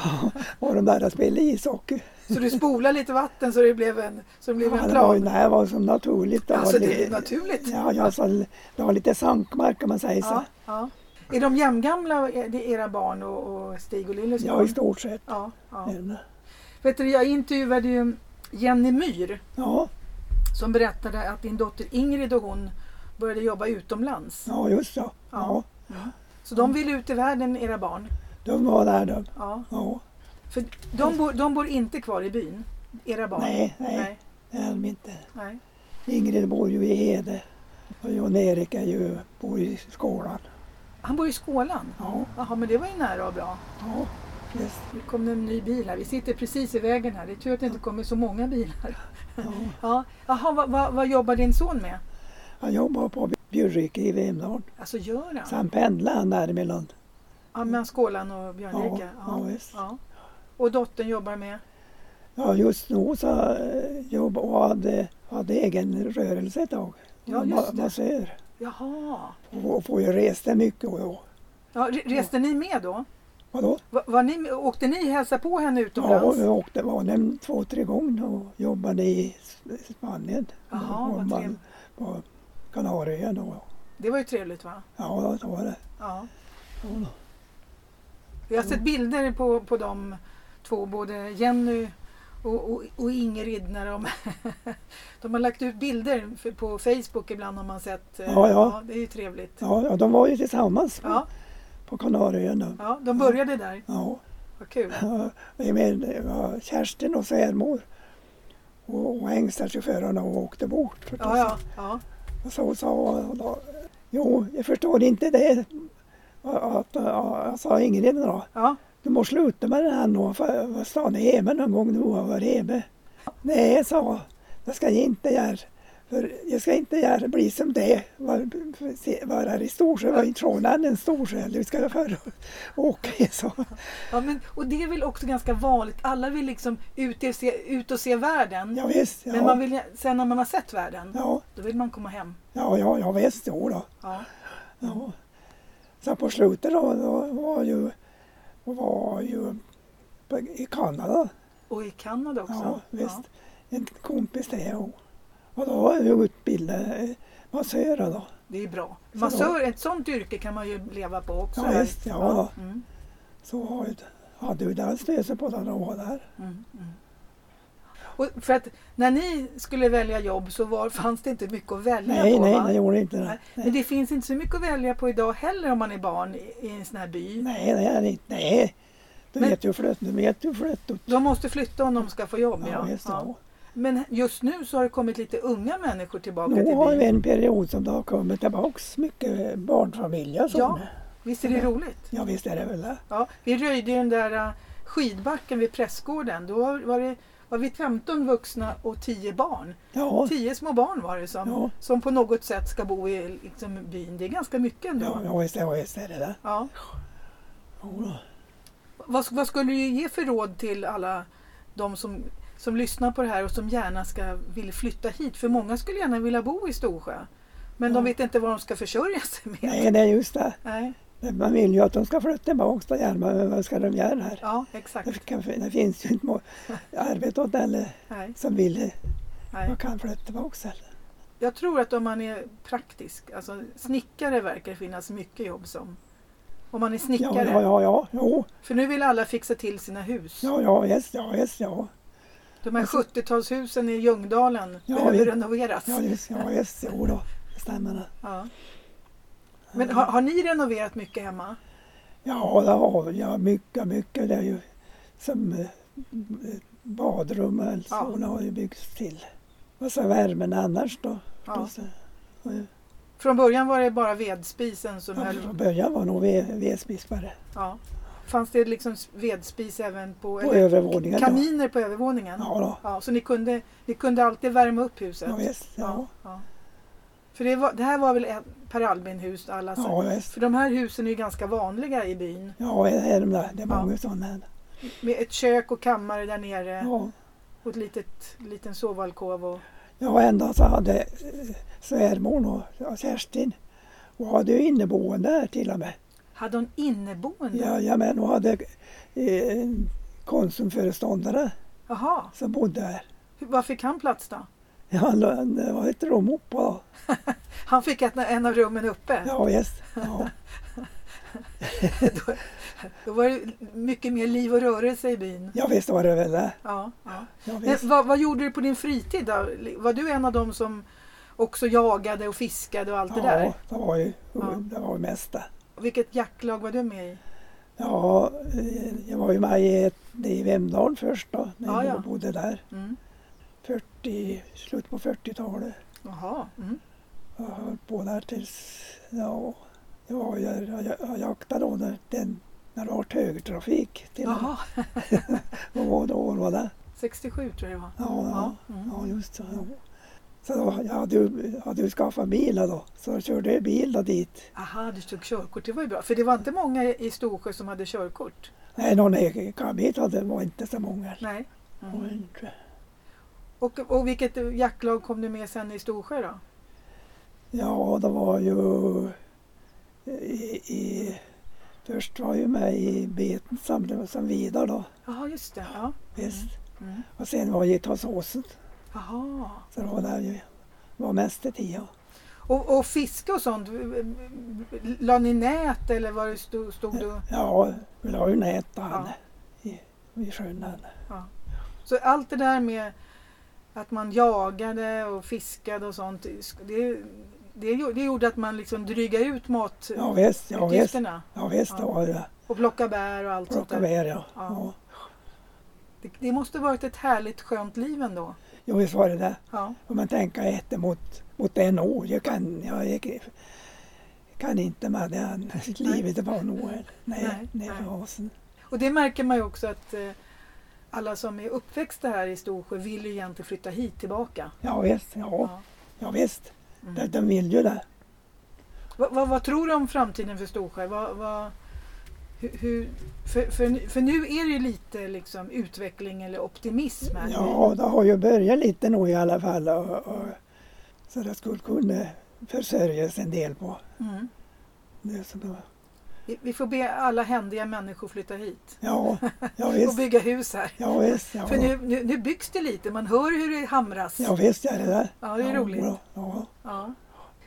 S2: och de där spelade ishockey.
S1: Så du spolade lite vatten så det blev en, så det blev
S2: Ja,
S1: en
S2: det var, ju-
S1: plan?
S2: nej, det var som naturligt. var
S1: Alltså det
S2: li-
S1: är naturligt.
S2: Ja, ja så, det var lite sankmark om man säger så.
S1: Ja, ja. Är de jämngamla, är det era barn och, och Stig och Lillys
S2: Ja,
S1: barn?
S2: i stort sett.
S1: Ja, ja.
S2: Men,
S1: Vet du, jag intervjuade ju Jenny Myhr
S2: Ja,
S1: som berättade att din dotter Ingrid och hon började jobba utomlands.
S2: ja just så. Ja,
S1: Så de
S2: Mm.
S1: vill ut i världen, era barn.
S2: de var där de.
S1: Ja.
S2: Ja,
S1: För de bor, de bor inte kvar i byn, era barn?
S2: nej, nej,
S1: Nej,
S2: det är de inte.
S1: nej.
S2: Ingrid bor ju i Hede och Jan-Erik är ju, bor i skolan.
S1: Han bor i Skålan?
S2: Ja,
S1: Jaha, men det var ju nära och bra.
S2: ja, visst.
S1: Nu kom det en ny bil här. Vi sitter precis i vägen här. Det är tur att det inte kommer så många bilar.
S2: Ja.
S1: Ja. Jaha, vad, vad, vad jobbar din son med?
S2: Han jobbar på Bjurrike i Vemdalen.
S1: Alltså gör
S2: Så
S1: han?
S2: han pendlar han däremellan.
S1: Ja, men Skålan och Björnrike?
S2: Ja, ja, visst.
S1: ja. Och dottern jobbar med?
S2: Ja, just nu så eh, jobb och hade, hade egen rörelse ett tag.
S1: Ja,
S2: Ma-
S1: just det.
S2: Massör.
S1: Jaha.
S2: Och, och får ju resa mycket och då.
S1: Ja, re- reste ni med då?
S2: Vadå?
S1: Va- var ni, åkte ni hälsa på henne
S2: Ja,
S1: utomlands?
S2: vi åkte var nämligen två, tre gånger och jobbade i S- Spanien.
S1: Jaha,
S2: Och
S1: vad
S2: man-
S1: trevligt.
S2: På Kanarieöarna. och-
S1: Det var ju trevligt va?
S2: Ja, det var det.
S1: Ja.
S2: Ja.
S1: Jag har sett bilder på, på de två, både Jenny och, och, och Ingrid, när de, de har lagt ut bilder för- på Facebook ibland har man sett. eh,
S2: Ja, ja.
S1: det är ju trevligt.
S2: Ja, ja, de var ju tillsammans på,
S1: Ja,
S2: på Kanarieöarna.
S1: ja de började där.
S2: Ja.
S1: Vad kul.
S2: Jag men, det var Kerstin och svärmor och, och Engstadschaufförerna och åkte bort. förstås.
S1: Ja, ja, ja.
S2: Och så sa hon då, jo, jag förstår inte det. Att, att, sa Ingrid då,
S1: ja.
S2: du måste sluta med det här nu, för vad sa ni hemma någon gång du har varit hemma? Nej, sa hon, det ska jag inte göra. För jag ska inte gärna bli som det, var- se- vara i Storsjö, var inte från en Storsjö, eller vi ska jag förr åka i så.
S1: Ja, men, och det är väl också ganska vanligt. Alla vill liksom ut, och se, ut och se världen.
S2: Ja, visst, ja.
S1: Men man vill, sen när man har sett världen,
S2: ja,
S1: då vill man komma hem.
S2: ja, ja, ja, visst, jo då.
S1: Ja.
S2: Ja. Så på slutet då, då var ju, var ju på- i Kanada.
S1: Och i Kanada också.
S2: Ja, visst. En kompis till jag. Och då var jag utbildad massörer då.
S1: det är bra.
S2: Så
S1: Massör, ett sånt yrke kan man ju leva på också.
S2: Ja,
S1: här.
S2: visst, ja, då.
S1: Mm,
S2: Så har jag, hade ju den stösen på den var där.
S1: mm, mm. Och för att när ni skulle välja jobb så var, fanns det inte mycket att välja
S2: Nej,
S1: på.
S2: nej,
S1: va?
S2: det gjorde inte det.
S1: Nej. Men det finns inte så mycket att välja på idag heller om man är barn i, i en sån här by.
S2: Nej, det är det inte. Nej. Du
S1: Men-
S2: vet ju flött, du vet ju flött. och-
S1: De måste flytta om de ska få jobb.
S2: Ja, visst, ja.
S1: Men just nu så har det kommit lite unga människor tillbaka
S2: Nu
S1: till
S2: har
S1: byn.
S2: vi en period som det har kommit tillbaks mycket barnfamiljer. Som,
S1: Ja.
S2: ja.
S1: Visst är det roligt?
S2: ja, visst är det väl det.
S1: Ja, vi röjde ju den där äh, skidbacken vid Prästgården. Då var, det, var vi 15 vuxna och 10 barn.
S2: Ja,
S1: 10 små barn var det som,
S2: Ja.
S1: som på något sätt ska bo i liksom, byn. Det är ganska mycket ändå.
S2: ja,
S1: Ja,
S2: ja visst, är- ja, visst är det det. Jo då.
S1: Vad, vad skulle du ge för råd till alla de som, som lyssnar på det här och som gärna ska, vill flytta hit? För många skulle gärna vilja bo i Storsjö. Men de
S2: Ja.
S1: vet inte vad de ska försörja sig med.
S2: Nej, det är just det.
S1: Nej.
S2: Man vill ju att de ska flytta tillbaks till Järma, men vad ska de göra här?
S1: Ja, exakt.
S2: Det, kan, det finns ju inte må- arbete åt alla
S1: Nej,
S2: som vill,
S1: nej.
S2: man kan flytta tillbaks heller.
S1: Jag tror att om man är praktisk, alltså snickare verkar det finnas mycket jobb som. Om man är
S2: Ja,
S1: snickare.
S2: ja, ja, ja, jo,
S1: För nu vill alla fixa till sina hus.
S2: ja, ja, visst, ja, visst, ja.
S1: De här
S2: Alltså-
S1: 70-talshusen i Ljungdalen
S2: Ja,
S1: behöver
S2: vi-
S1: renoveras.
S2: Ja, just, ja, just, jo då, det stämmer det.
S1: Ja. Men har, har ni renoverat mycket hemma?
S2: Ja, det har vi. Ja, mycket, mycket. Det är ju som eh, badrum och så
S1: Ja.
S2: har ju byggts till. Och så värmen annars då.
S1: Ja.
S2: Och så, och,
S1: Från början var det bara vedspisen som
S2: ja, från
S1: höll...
S2: början var nog ve- vedspis bara.
S1: Ja. Fanns det liksom vedspis även på,
S2: På
S1: eller
S2: övervåningen. då.
S1: kaminer på övervåningen?
S2: Ja, då.
S1: Ja, så ni kunde, ni kunde alltid värma upp huset?
S2: Ja, visst. Ja,
S1: ja. För det, var, det här var väl ett Per Albin-hus? Alla sa-
S2: ja, visst.
S1: För de här husen är ju ganska vanliga i byn.
S2: Ja, det är de där. Det är
S1: Ja.
S2: många sådana.
S1: Med ett kök och kammare där nere
S2: Ja.
S1: och ett litet, liten sovalkov. Och,
S2: Ja, ända så hade eh, svärmor och ja, Kerstin. Hon hade ju inneboende här till och med.
S1: hade hon inneboende?
S2: Jajamän, hon hade eh, en konsumföreståndare
S1: Jaha,
S2: som bodde här.
S1: hur- var fick han plats då?
S2: Ja, han eh, la- det var ett rum upp då.
S1: Han fick ett, en av rummen uppe.
S2: Ja, visst. Ja,
S1: då, då var det mycket mer liv och rörelse i byn.
S2: ja visst var det väl det.
S1: Ja, ja.
S2: Ja,
S1: Men,
S2: visst.
S1: vad, vad gjorde du på din fritid då? Var du en av dem som också jagade och fiskade och allt det
S2: Ja,
S1: där?
S2: det var ju
S1: Ja.
S2: det var ju mest det.
S1: Vilket jaktlag var du med i?
S2: Ja, eh, jag var ju med i ett- det i Vemdalen först då, när
S1: Ja,
S2: jag
S1: ja.
S2: bodde där.
S1: Mm.
S2: 40, slut på 40-talet.
S1: Jaha. Mm.
S2: Jag höll på där tills, ja, jag, var, ju- jag, jag, jag jaktade då när, den, när det var högtrafik. Till,
S1: Jaha.
S2: Vad var det år var det?
S1: 67 tror jag det var.
S2: Ja, ja.
S1: mm.
S2: Ja, just så. Ja. Så då, jag hade ju, hade ju skaffat bil då, så jag körde ju bil då dit.
S1: Aha, du tog körkort, det var ju bra. För det var inte många i Storsjö som hade körkort.
S2: Nej, någon i Kamit hade var inte så många.
S1: Nej. Mm.
S2: Det var inte-
S1: Och, och vilket jaktlag kom du med sen i Storsjö då?
S2: Ja, det var ju i, i, Först var jag med i beten som, som vidare då,
S1: Jaha, just det. Ja.
S2: visst.
S1: Mm.
S2: Och sen var jag i Tåssåsen,
S1: Jaha.
S2: så det var där jag var mest i tio.
S1: Och, och fiske och sånt, la ni nät eller var det stod, stod du?
S2: Ja, vi la ju nät då, han,
S1: Ja.
S2: i, i sjön. han.
S1: Så allt det där med att man jagade och fiskade och sånt, det, det, gjo- det gjorde att man liksom drygade ut
S2: Ja, visst, ja, visst.
S1: matutgifterna
S2: Ja, visst, det
S1: Ja.
S2: var det.
S1: och plockade bär och allt sånt
S2: Plocka
S1: där.
S2: bär, ja.
S1: Ja.
S2: ja.
S1: Det, det måste varit ett härligt skönt liv ändå.
S2: Jo, visst var det det.
S1: Ja.
S2: Om man tänker efter mot, mot en år. Jag kan, jag, jag kan inte med det här livet det var nog. Nej,
S1: Nej,
S2: nej, nej.
S1: nej.
S2: fasen.
S1: Och det märker man ju också att eh, alla som är uppväxta här i Storsjö vill ju egentligen flytta hit tillbaka.
S2: Ja, visst. Ja. Ja. Ja, visst,
S1: Mm.
S2: de, de vill ju det.
S1: Vad, vad, vad tror du om framtiden för Storsjö? Vad, vad, hur, hur, för, för, för nu är det ju lite liksom utveckling eller optimism här.
S2: Ja, det har ju börjat lite nog i alla fall. Och, och, så det skulle kunna försörjas en del på.
S1: Mm.
S2: Det som då.
S1: Vi, vi får be alla händiga människor flytta hit
S2: Ja, ja
S1: och
S2: visst.
S1: bygga hus här.
S2: Ja, visst, ja.
S1: För nu, nu, nu byggs det lite, man hör hur det hamras.
S2: ja, visst är det där.
S1: Ja, det är roligt.
S2: Ja, ja.
S1: Ja.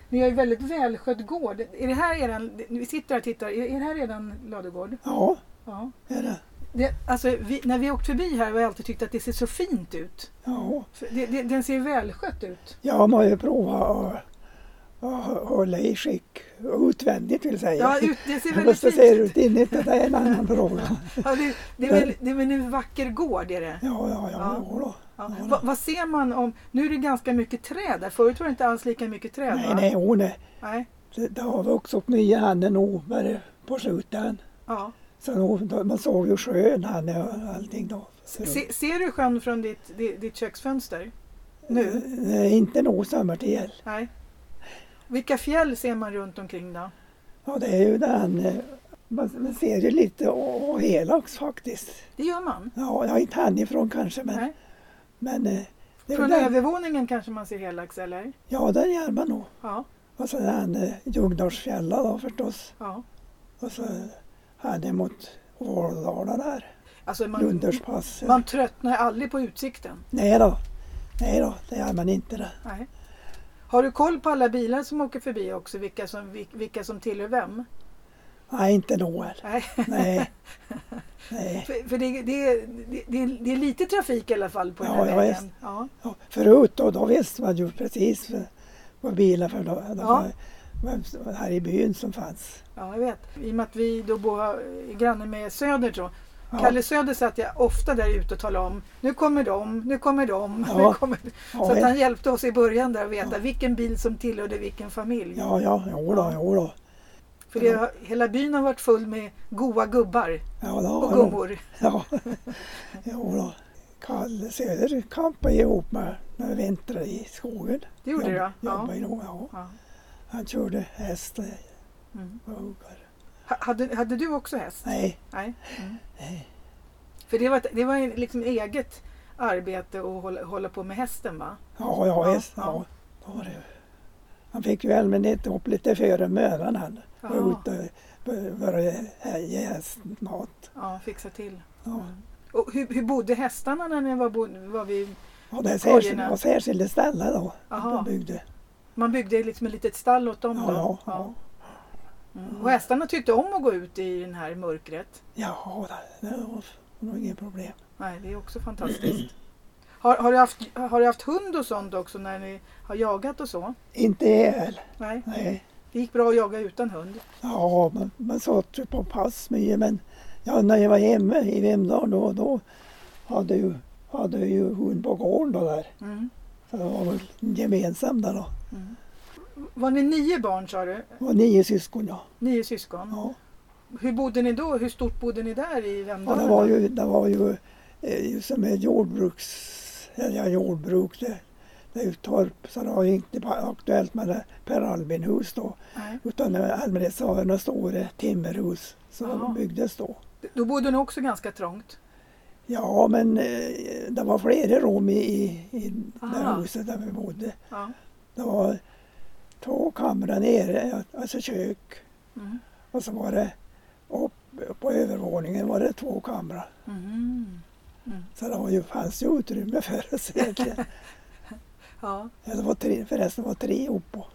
S1: Ni har ju väldigt välskött gård. Är det här eran, vi sitter här och tittar, är är det här redan ladugård?
S2: ja,
S1: Ja.
S2: är det.
S1: Det, alltså, vi, när vi åkt förbi här har vi alltid tyckt att det ser så fint ut.
S2: Ja,
S1: För Det, det, den ser välskött ut.
S2: ja man har ju provat att att hålla i skick utvändigt vill säga.
S1: Ja, ut, det ser
S2: Vad
S1: väldigt
S2: som
S1: fint
S2: ser
S1: ut.
S2: ut inuti, det är en annan fråga.
S1: Ja, det, det, är väl, det är väl en vacker gård. Är det.
S2: Ja, ja,
S1: Ja.
S2: ja, ja. då.
S1: Ja.
S2: Ja.
S1: Va, vad ser man om... Nu är det ganska mycket träd där. Förut var det inte alls lika mycket träd.
S2: Nej,
S1: va?
S2: nej, hon är,
S1: nej.
S2: det, det har vuxit upp nya handen nog men på slutet.
S1: Ja.
S2: Så nog- då, man såg ju sjön han och allting då.
S1: Se, ser du sjön från ditt, di- ditt köksfönster?
S2: Mm.
S1: Nu?
S2: Nej, inte nog sommartid.
S1: Nej. Vilka fjäll ser man runt omkring då?
S2: Ja, det är ju den, eh, man, man ser ju lite å- å Helax faktiskt.
S1: Det gör man.
S2: Ja, jag är inte härifrån kanske men,
S1: Nej.
S2: men eh, det är
S1: Från
S2: ju den,
S1: övervåningen kanske man ser Helax, eller?
S2: ja den gör man nog.
S1: Ja.
S2: Och så den eh, Ljungdalsfjällan då förstås.
S1: ja.
S2: Och så här mot Våldala där,
S1: Alltså man,
S2: Lunderspassen.
S1: man tröttnar aldrig på utsikten.
S2: Nej då, nej då, det gör man inte det.
S1: Nej. Har du koll på alla bilar som åker förbi också? Vilka som, vil- vilka som tillhör vem?
S2: Nej, inte nog.
S1: Nej.
S2: Nej. nej.
S1: För, för det, det, det, det, är- det är lite trafik i alla fall på den
S2: Ja,
S1: här
S2: ja,
S1: vägen.
S2: visst.
S1: Ja.
S2: Ja, förut då, då visste man ju precis vad- vad bilar för då, då
S1: Ja.
S2: var- var- här i byn som fanns.
S1: ja, jag vet. I och med att vi då bor eh, granne med Söder så.
S2: Ja.
S1: Kalle Söder satt jag ofta där ute och talade om. Nu kommer de, nu kommer de.
S2: Ja.
S1: Nu kommer...
S2: Ja,
S1: Så att
S2: det-
S1: han hjälpte oss i början där att veta vilken bil som tillhörde vilken familj.
S2: Ja, ja, jo då, jo då.
S1: För det, har- hela byn har varit full med goa gubbar
S2: Ja, då
S1: och
S2: har de-
S1: gummor.
S2: Ja, jo då. Kalle Söder kampade ihop med när vi vintrade i skogen.
S1: Det gjorde
S2: Jobb-
S1: du, ja.
S2: Jobbade nog, ja.
S1: Ja.
S2: Han körde häst
S1: Mm.
S2: och huggar.
S1: Ha- Hade, hade du också häst?
S2: Nej,
S1: Nej. Mm.
S2: nej.
S1: För det var, ett- det var en- liksom eget arbete att hålla, hålla på med hästen va?
S2: Ja, ja,
S1: Ja,
S2: visst.
S1: ja.
S2: Ja. Då var det. Han fick ju i allmänhet ihop lite före mödan han. Var
S1: Jaha.
S2: ute och började hä- ge hästen mat.
S1: Ja, fixa till.
S2: Ja.
S1: Och hur, hur bodde hästarna när ni var, bo, var vi...
S2: Och det är
S1: Skojerna.
S2: särskilda, och särskilda ställen då.
S1: Jaha.
S2: De byggde.
S1: Man byggde liksom ett litet stall åt dem
S2: Ja,
S1: då?
S2: ja, ja.
S1: Mm. Och hästarna tyckte om att gå ut i den här mörkret?
S2: ja det, det var nog inget problem.
S1: Nej, det är också fantastiskt. Har, har, du haft, har du haft hund och sånt också när ni har jagat och så?
S2: Inte ihjäl.
S1: Nej,
S2: Nej.
S1: det gick bra att jaga utan hund.
S2: Ja, man, man satt ju på pass mycket men ja, när jag var hemma i Vemdalen då, då hade ju, hade ju hund på gården då där.
S1: Mm.
S2: Så det var väl gemensam där då.
S1: Var ni nio barn sa du?
S2: Det var nio syskon ja.
S1: Nio syskon?
S2: ja.
S1: Hur bodde ni då? Hur stort bodde ni där i
S2: Ja,
S1: Vemdalen?
S2: det var ju, det var ju eh, ju som ett jordbruks... Ja, jordbruk det, det är ju torp så det var ju inte bara aktuellt med det Per Albin-hus då.
S1: Nej.
S2: Utan i allmänhet så har vi några stora timmerhus som
S1: Jaha.
S2: byggdes då.
S1: Då bodde ni också ganska trångt?
S2: Ja men eh, det var flera rum i, i, i det
S1: Aha.
S2: här huset där vi bodde.
S1: Ja.
S2: Det var två kamrar nere, alltså kök.
S1: Mm.
S2: Och så var det upp på övervåningen var det två kamrar.
S1: Mhm.
S2: Så det var ju, fanns ju utrymme för oss egentligen.
S1: ja.
S2: Ja, det var tre, förresten det var tre upp på,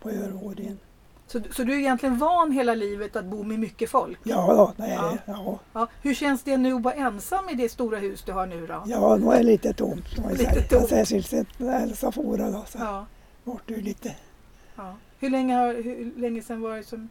S2: på övervåningen.
S1: Så, så du är egentligen van hela livet att bo med mycket folk?
S2: Ja, då, nej,
S1: Ja.
S2: ja. ja.
S1: Ja. Hur känns det nu att vara ensam i det stora hus du har nu då?
S2: Ja, nu är det lite tomt. kan man Alltså, ju
S1: Lite
S2: säga.
S1: tomt.
S2: Särskilt sen när Elsa for då så
S1: Ja,
S2: vart det ju lite.
S1: ja. Hur, länge har, hur länge sedan var det som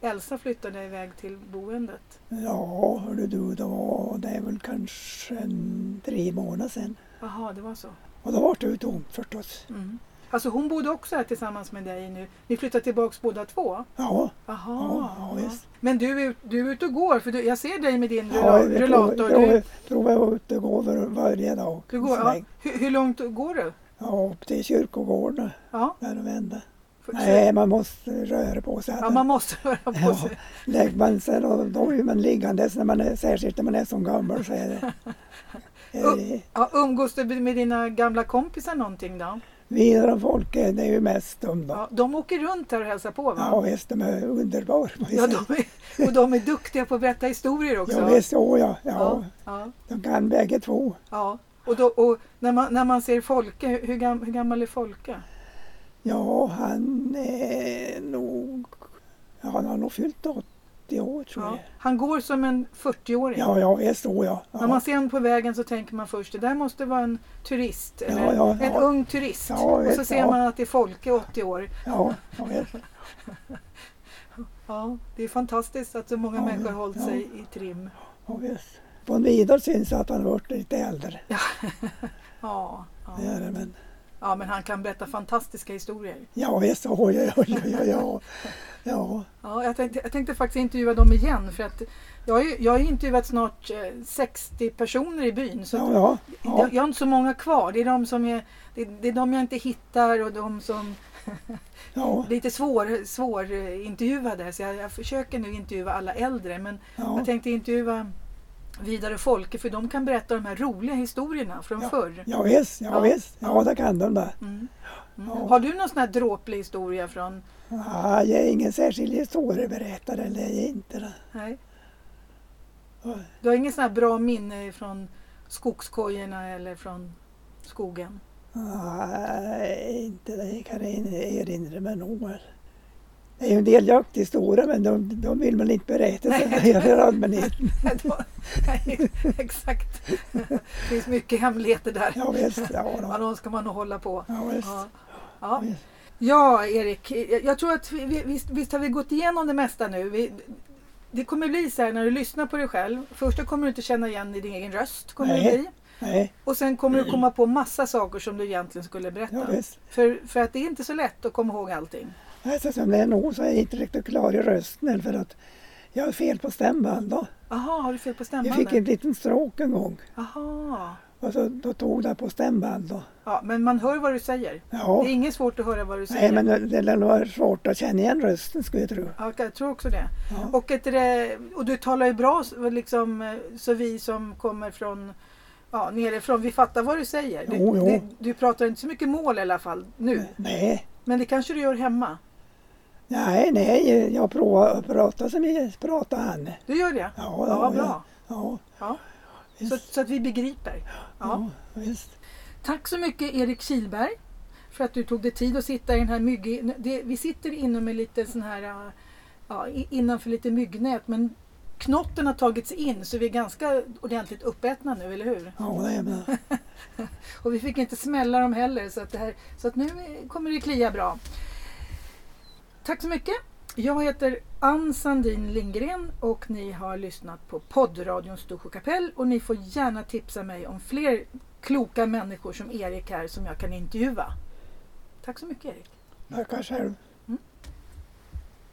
S1: Elsa flyttade iväg till boendet?
S2: Ja, hörde du, det var, det är väl kanske en, tre månader sedan.
S1: Jaha, det var så.
S2: Och då vart det ju tomt förstås.
S1: Mm. Alltså hon bodde också här tillsammans med dig nu. Ni flyttade tillbaks båda två?
S2: Ja,
S1: Jaha.
S2: Ja, ja, visst.
S1: Men du är, ut- du är ute och går, för du, jag ser dig med din
S2: ja
S1: rulla- rullator.
S2: tror
S1: Du,
S2: jag tror jag var ute och går var- varje dag.
S1: du går,
S2: en
S1: ja.
S2: sväng.
S1: hur, hur långt går du?
S2: Ja, upp till kyrkogården
S1: Ja,
S2: där och vända.
S1: för-
S2: Nej, man måste röra på sig.
S1: ja man måste röra på
S2: Ja.
S1: sig.
S2: Lägger man sig då, då är man liggandes, när man är, särskilt när man är som gammal så är det. Eh,
S1: Ja, umgås du med dina gamla kompisar någonting då?
S2: Vi från folket, det är ju mest de då.
S1: Ja, de åker runt här och hälsar på va?
S2: Ja visst, de är underbara. får jag
S1: Ja,
S2: säga.
S1: de är, och de är duktiga på att berätta historier också.
S2: ja visst, åh ja, ja.
S1: Ja, ja,
S2: De kan bägge två.
S1: ja. Och, då, och när, man, när man ser Folke, hur, hur gam, hur gammal är Folke?
S2: Ja, han är nog... Ja, han har nog fyllt 80 år tror
S1: Ja.
S2: jag.
S1: Han går som en 40-åring.
S2: Ja, ja visst, åh ja.
S1: När
S2: Ja,
S1: man ser honom på vägen så tänker man först det där måste vara en turist, eller
S2: Ja, ja,
S1: en
S2: ja.
S1: ung turist.
S2: Ja,
S1: och så
S2: vet,
S1: ser
S2: ja.
S1: man att det är Folke, 80 år.
S2: ja, ja visst.
S1: Ja, det är fantastiskt att så många
S2: Ja,
S1: människor har
S2: ja,
S1: hållit
S2: ja.
S1: sig i trim.
S2: Ja, visst. Von Vidar syns att han har varit lite äldre.
S1: Ja, ja.
S2: Det är det, men...
S1: ja, men han kan berätta fantastiska historier.
S2: Ja, visst, oj, oj, oj, oj, oj, ja. Ja,
S1: Ja, jag, tänkte, jag tänkte faktiskt intervjua dem igen för att jag har, ju, jag har ju intervjuat snart eh, 60 personer i byn. Så
S2: ja,
S1: att
S2: ja.
S1: Jag,
S2: ja.
S1: jag har inte så många kvar. Det är, de som är, det, det är de jag inte hittar och de som
S2: ja,
S1: är lite svår, svår eh, intervjuade. Så jag, jag försöker nu intervjua alla äldre. Men
S2: ja.
S1: jag tänkte intervjua Vidar och Folke för de kan berätta de här roliga historierna från förr.
S2: Ja, visst, ja,
S1: Ja.
S2: visst. Ja, det kan de där.
S1: Mm. Mm.
S2: Ja.
S1: Har du någon sån här dråplig historia från...
S2: Ja, jag är ingen särskild historieberättare, eller jag är inte det.
S1: Nej.
S2: Oj.
S1: Du har ingen sån här bra minne från skogskojorna eller från skogen?
S2: Nej, inte det kan jag in- erinra mig nog. Det är ju en del jakthistorier, men de, de vill man inte berätta för för allmänheten.
S1: Då- Nej, Exakt. Det finns mycket hemligheter där.
S2: Ja, visst, ja,
S1: Ja,
S2: då.
S1: de ska man nog hålla på.
S2: ja, visst.
S1: Ja.
S2: Ja,
S1: Ja.
S2: visst.
S1: ja, Erik. jag- Jag tror att vi- vi, visst, visst har vi gått igenom det mesta nu. Vi, det kommer bli så här när du lyssnar på dig själv. Först då kommer du inte känna igen i din egen röst. Kommer det
S2: Nej.
S1: bli.
S2: Nej,
S1: Och sen kommer du komma på massa saker som du egentligen skulle
S2: ja,
S1: berätta.
S2: visst.
S1: För, för att det är inte så lätt att komma ihåg allting.
S2: Alltså, som det är nog så är jag inte riktigt klar i rösten eller för att jag har fel på stämband. Då.
S1: Aha, har du fel på
S2: Jag
S1: stämbanden?
S2: fick en liten stråk en gång
S1: Aha.
S2: och så, då tog det på stämband. Då.
S1: Ja, men man hör vad du säger.
S2: Ja.
S1: Det är inget svårt att höra vad du säger.
S2: Nej, men det det lär nog vara svårt att känna igen rösten skulle jag tro.
S1: Ja, jag tror också det.
S2: Ja,
S1: Och, ett, re- och du talar ju bra, liksom, eh, så vi som kommer från ja, nerifrån, vi fattar vad du säger. Du,
S2: Jo, jo.
S1: Du, du pratar inte så mycket mål i alla fall nu,
S2: nej.
S1: men det kanske du gör hemma.
S2: Nej, nej, jag provar att prata som jag pratar han.
S1: Du gör det?
S2: Ja,
S1: Ja, bra.
S2: Ja,
S1: Ja.
S2: visst.
S1: Så, så att vi begriper. Ja.
S2: ja. visst.
S1: Tack så mycket Erik Kilberg för att du tog dig tid att sitta i den här mygg... Det, vi sitter inom en liten sån här, äh, ja, i- innanför lite myggnät men knotten har tagits in så vi är ganska ordentligt uppätna nu, eller hur?
S2: Ja, det är bra.
S1: Och vi fick inte smälla dem heller så att, det här, så att nu eh, kommer det klia bra. Tack så mycket. Jag heter Ann Sandin Lindgren och ni har lyssnat på poddradion Storsjö kapell och ni får gärna tipsa mig om fler kloka människor som Erik här som jag kan intervjua. Tack så mycket Erik.
S2: Tackar själv.